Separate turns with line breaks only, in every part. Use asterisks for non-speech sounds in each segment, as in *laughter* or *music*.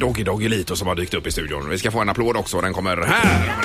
Doggy Doggy Lito som har dykt upp i studion. Vi ska få en applåd också. Den kommer här.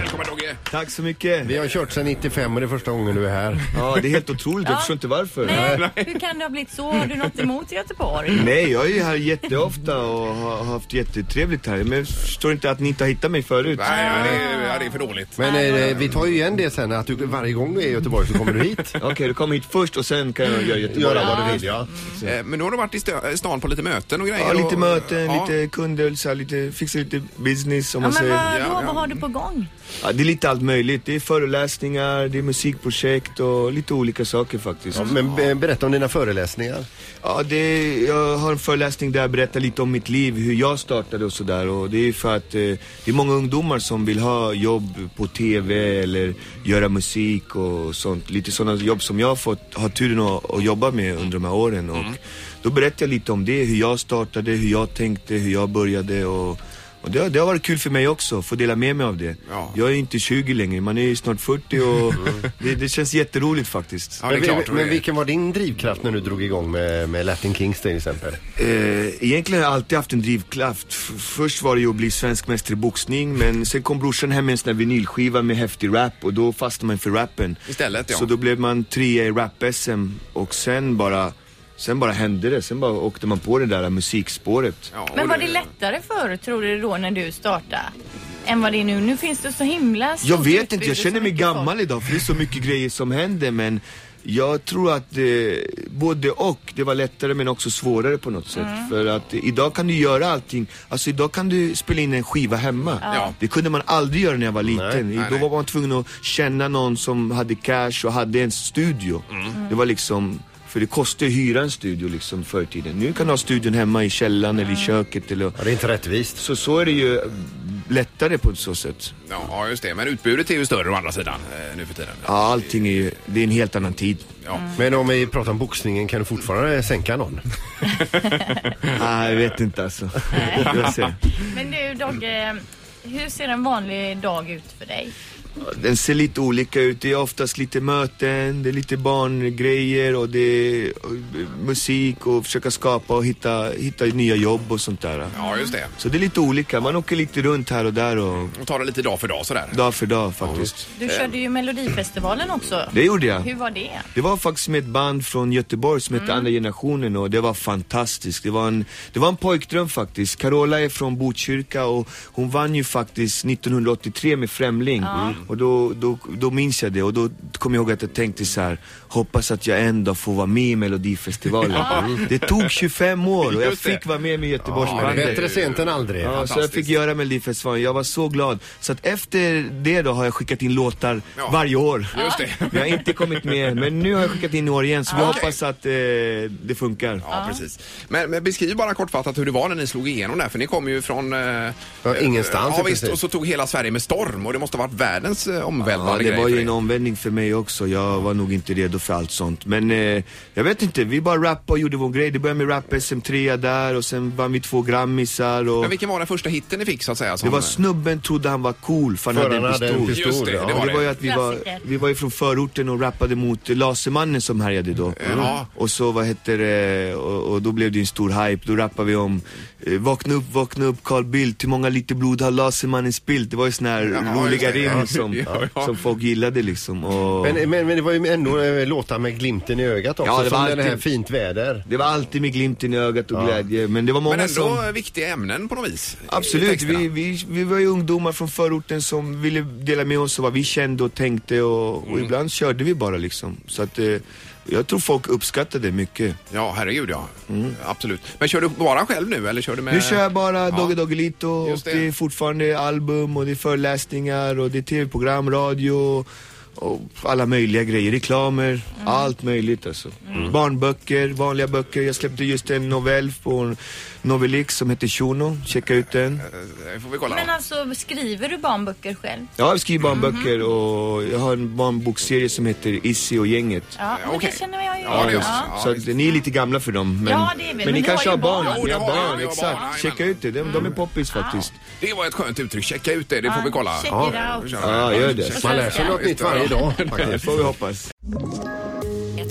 Välkommen Doggy.
Tack så mycket.
Vi har kört sedan 95 och det är första gången du är här.
Ja, det är helt otroligt. Jag
Ja.
förstår inte varför.
Nej, hur kan det ha blivit så? Har du något emot Göteborg?
Nej, jag är ju här jätteofta och har har haft jättetrevligt här. Men jag förstår inte att ni inte har hittat mig förut.
Nej, ja, det, är- ja, det är för dåligt.
Men eh, vi tar ju igen det sen att du, varje gång du är i Göteborg så kommer du hit.
Okej, du kommer hit först och sen kan jag göra Göteborg.
Göra vad du vill ja.
Eh, Men nu har du varit i stö- stan på lite möten och grejer.
Ja, lite
och-
möten,
ja.
lite kunder, så här, lite, fixa lite business om
Ja,
man
men
säger.
vad, då,
ja.
vad har du på gång?
Ja, det är lite allt möjligt. Det är föreläsningar, det är musikprojekt och lite olika saker faktiskt.
Ja, Men be- berätta om dina föreläsningar.
Ja, det är, jag har en föreläsning där jag berättar lite om mitt liv, hur jag startade och sådär. Och det är för att eh, det är många ungdomar som vill ha jobb på TV eller göra musik och sånt. Lite sådana jobb som jag har fått, har turen att, att jobba med under de här åren. Och då berättar jag lite om det, hur jag startade, hur jag tänkte, hur jag började och och det, har- det har varit kul för mig också, att få dela med mig av det.
Ja.
Jag är inte 20 längre, man är ju snart 40 och det, det känns jätteroligt faktiskt.
Ja, det är klart.
men,
det
men
är-
vilken var din drivkraft när du drog igång med, med Latin Kings till exempel?
Eh, egentligen har jag alltid haft en drivkraft. F- först var det ju att bli svensk mästare i boxning, men sen kom brorsan hem med en sån här vinylskiva med häftig rap och då fastnade man för rappen.
Istället, ja.
Så då blev man trea i rap-SM och sen bara, sen bara hände det. Sen bara åkte man på det där musikspåret.
Ja, och
Men var det lättare förr, tror du då, när du startade? Än vad det är nu? Nu finns det så himla stort
Jag vet
utbud
inte, jag
och så
känner mig
mycket
gammal
folk.
idag för det är så mycket grejer som händer men jag tror att eh, både och, det var lättare men också svårare på något sätt.
Mm.
För att eh, idag kan du göra allting, alltså idag kan du spela in en skiva hemma.
Ja.
Det kunde man aldrig göra när jag var liten.
nej,
Då
nej.
var man tvungen att känna någon som hade cash och hade en studio.
Mm.
Det var liksom, för det kostade att hyra en studio liksom förr i tiden. Nu kan du ha studion hemma i källaren eller i
Mm.
köket eller
Ja, det är inte rättvist.
så, så är det ju lättare på så sätt.
Ja, just det. Men utbudet är ju större å andra sidan eh, nu för tiden.
Ja, allting är ju, det är en helt annan tid.
Ja.
Men om vi pratar om boxningen, kan du fortfarande sänka någon?
*laughs* Nej, jag vet inte alltså. Jag ser.
Men du Dogge, hur ser en vanlig dag ut för dig?
Den ser lite olika ut. Det är oftast lite möten, det är lite barngrejer och det är och, musik och försöka skapa och hitta, hitta nya jobb och sånt där.
ja, just det.
Så det är lite olika. Man åker lite runt här och där och
Och tar det lite dag för dag sådär.
dag för dag faktiskt.
Du körde ju Melodifestivalen också.
Det gjorde jag.
Hur var det?
Det var faktiskt med ett band från Göteborg som hette
Mm.
Andra generationen och det var fantastiskt. Det var, en, det var en pojkdröm faktiskt. Carola är från Botkyrka och hon vann ju faktiskt 1983 med Främling. Mm. Och då, då, då minns jag det och då kom jag ihåg att jag tänkte så här: hoppas att jag en dag får vara med i Melodifestivalen. Det tog 25 år och jag
Just det.
fick vara med med
Men
Göteborgsbandet.
bättre sent än aldrig.
Ja, så jag
Fantastiskt.
fick göra Melodifestivalen, jag var så glad. Så att efter det då har jag skickat in låtar
Ja.
varje år.
Just det.
Jag har inte kommit med, men nu har jag skickat in i år igen så vi
Okej.
hoppas att eh, det funkar.
Ja, precis. Men, men beskriv bara kortfattat hur det var när ni slog igenom där, för ni kom ju från... Eh,
Ja, ingenstans,
Ja,
i
visst,
princip.
och så tog hela Sverige med storm och det måste ha varit världens eh, omvälvande
Ja, det
grej
var
för
ju
er.
en omvändning för mig också. Jag var nog inte redo för allt sånt. Men eh, jag vet inte, vi bara rappade och gjorde vår grej. Det började med rap SM3 där och sen vann vi två grammisar och...
Men vilken var den första hitten ni fick så att säga? Som,
Det var snubben trodde han var cool för han
För
hade en
han hade en
pistol.
pistol.
Just det,
ja.
det var
det var ju att vi var,
Klassiker.
vi var ju från förorten och rappade mot Lasermannen som härjade då. Mm.
Ja.
Och så vad hette det, och, och då blev det ju en stor hype. Då rappade vi om eh, Vakna upp, vakna upp Carl Bildt, hur många liter blod har Lasermannen spillt? Det var ju såna här
Ja,
roliga
just det. Ja.
rim som,
Ja, ja.
som folk gillade liksom. Och
Men, men, men det var ju ändå eh, låtar med glimten i ögat också,
Ja, det var
som den här
alltid-
Fint väder.
det var alltid med glimten i ögat och glädje. Men det var många
men ändå
som...
viktiga ämnen på något vis. i
Absolut,
texterna.
vi, vi, vi var ju ungdomar från förorten som ville dela med oss av vad vi kände och tänkte och,
Mm.
och ibland körde vi bara liksom. Så att eh, jag tror folk uppskattade det mycket.
Ja, herregud ja. Absolut. Men kör du bara själv nu eller kör du med...
Mm. Nu kör jag bara Dogge
Ja.
Doggelito och
Just det.
det är fortfarande album och det är föreläsningar och det är tv-program, radio och alla möjliga grejer, reklamer,
Mm.
allt möjligt alltså. Barnböcker, vanliga böcker. Jag släppte just en novell på Novelix som heter Shuno, checka ut den.
Eh, får vi kolla
Men
då.
alltså, skriver du barnböcker själv?
Ja, jag skriver barnböcker och jag har en barnbokserie som heter Issy och gänget.
Ja, men
okej.
det känner jag ju.
Ja, det gör jag. Ja.
Så att ni är lite gamla för dem. Men,
Ja, det är vi. Men
ni
vi
kanske
har
har
ju
barn.
barn.
Jo,
Ni
det
har
har vi.
barn,
Vi har
exakt.
barn.
Checka ut det. De, de är poppis faktiskt.
Det var ett skönt uttryck. Checka ut det, det får
Ja,
vi kolla.
check it out.
kör vi.
Ja, gör det.
Och
Man lär sig
svenska.
något nytt varje dag faktiskt.
Det får vi hoppas.
Ett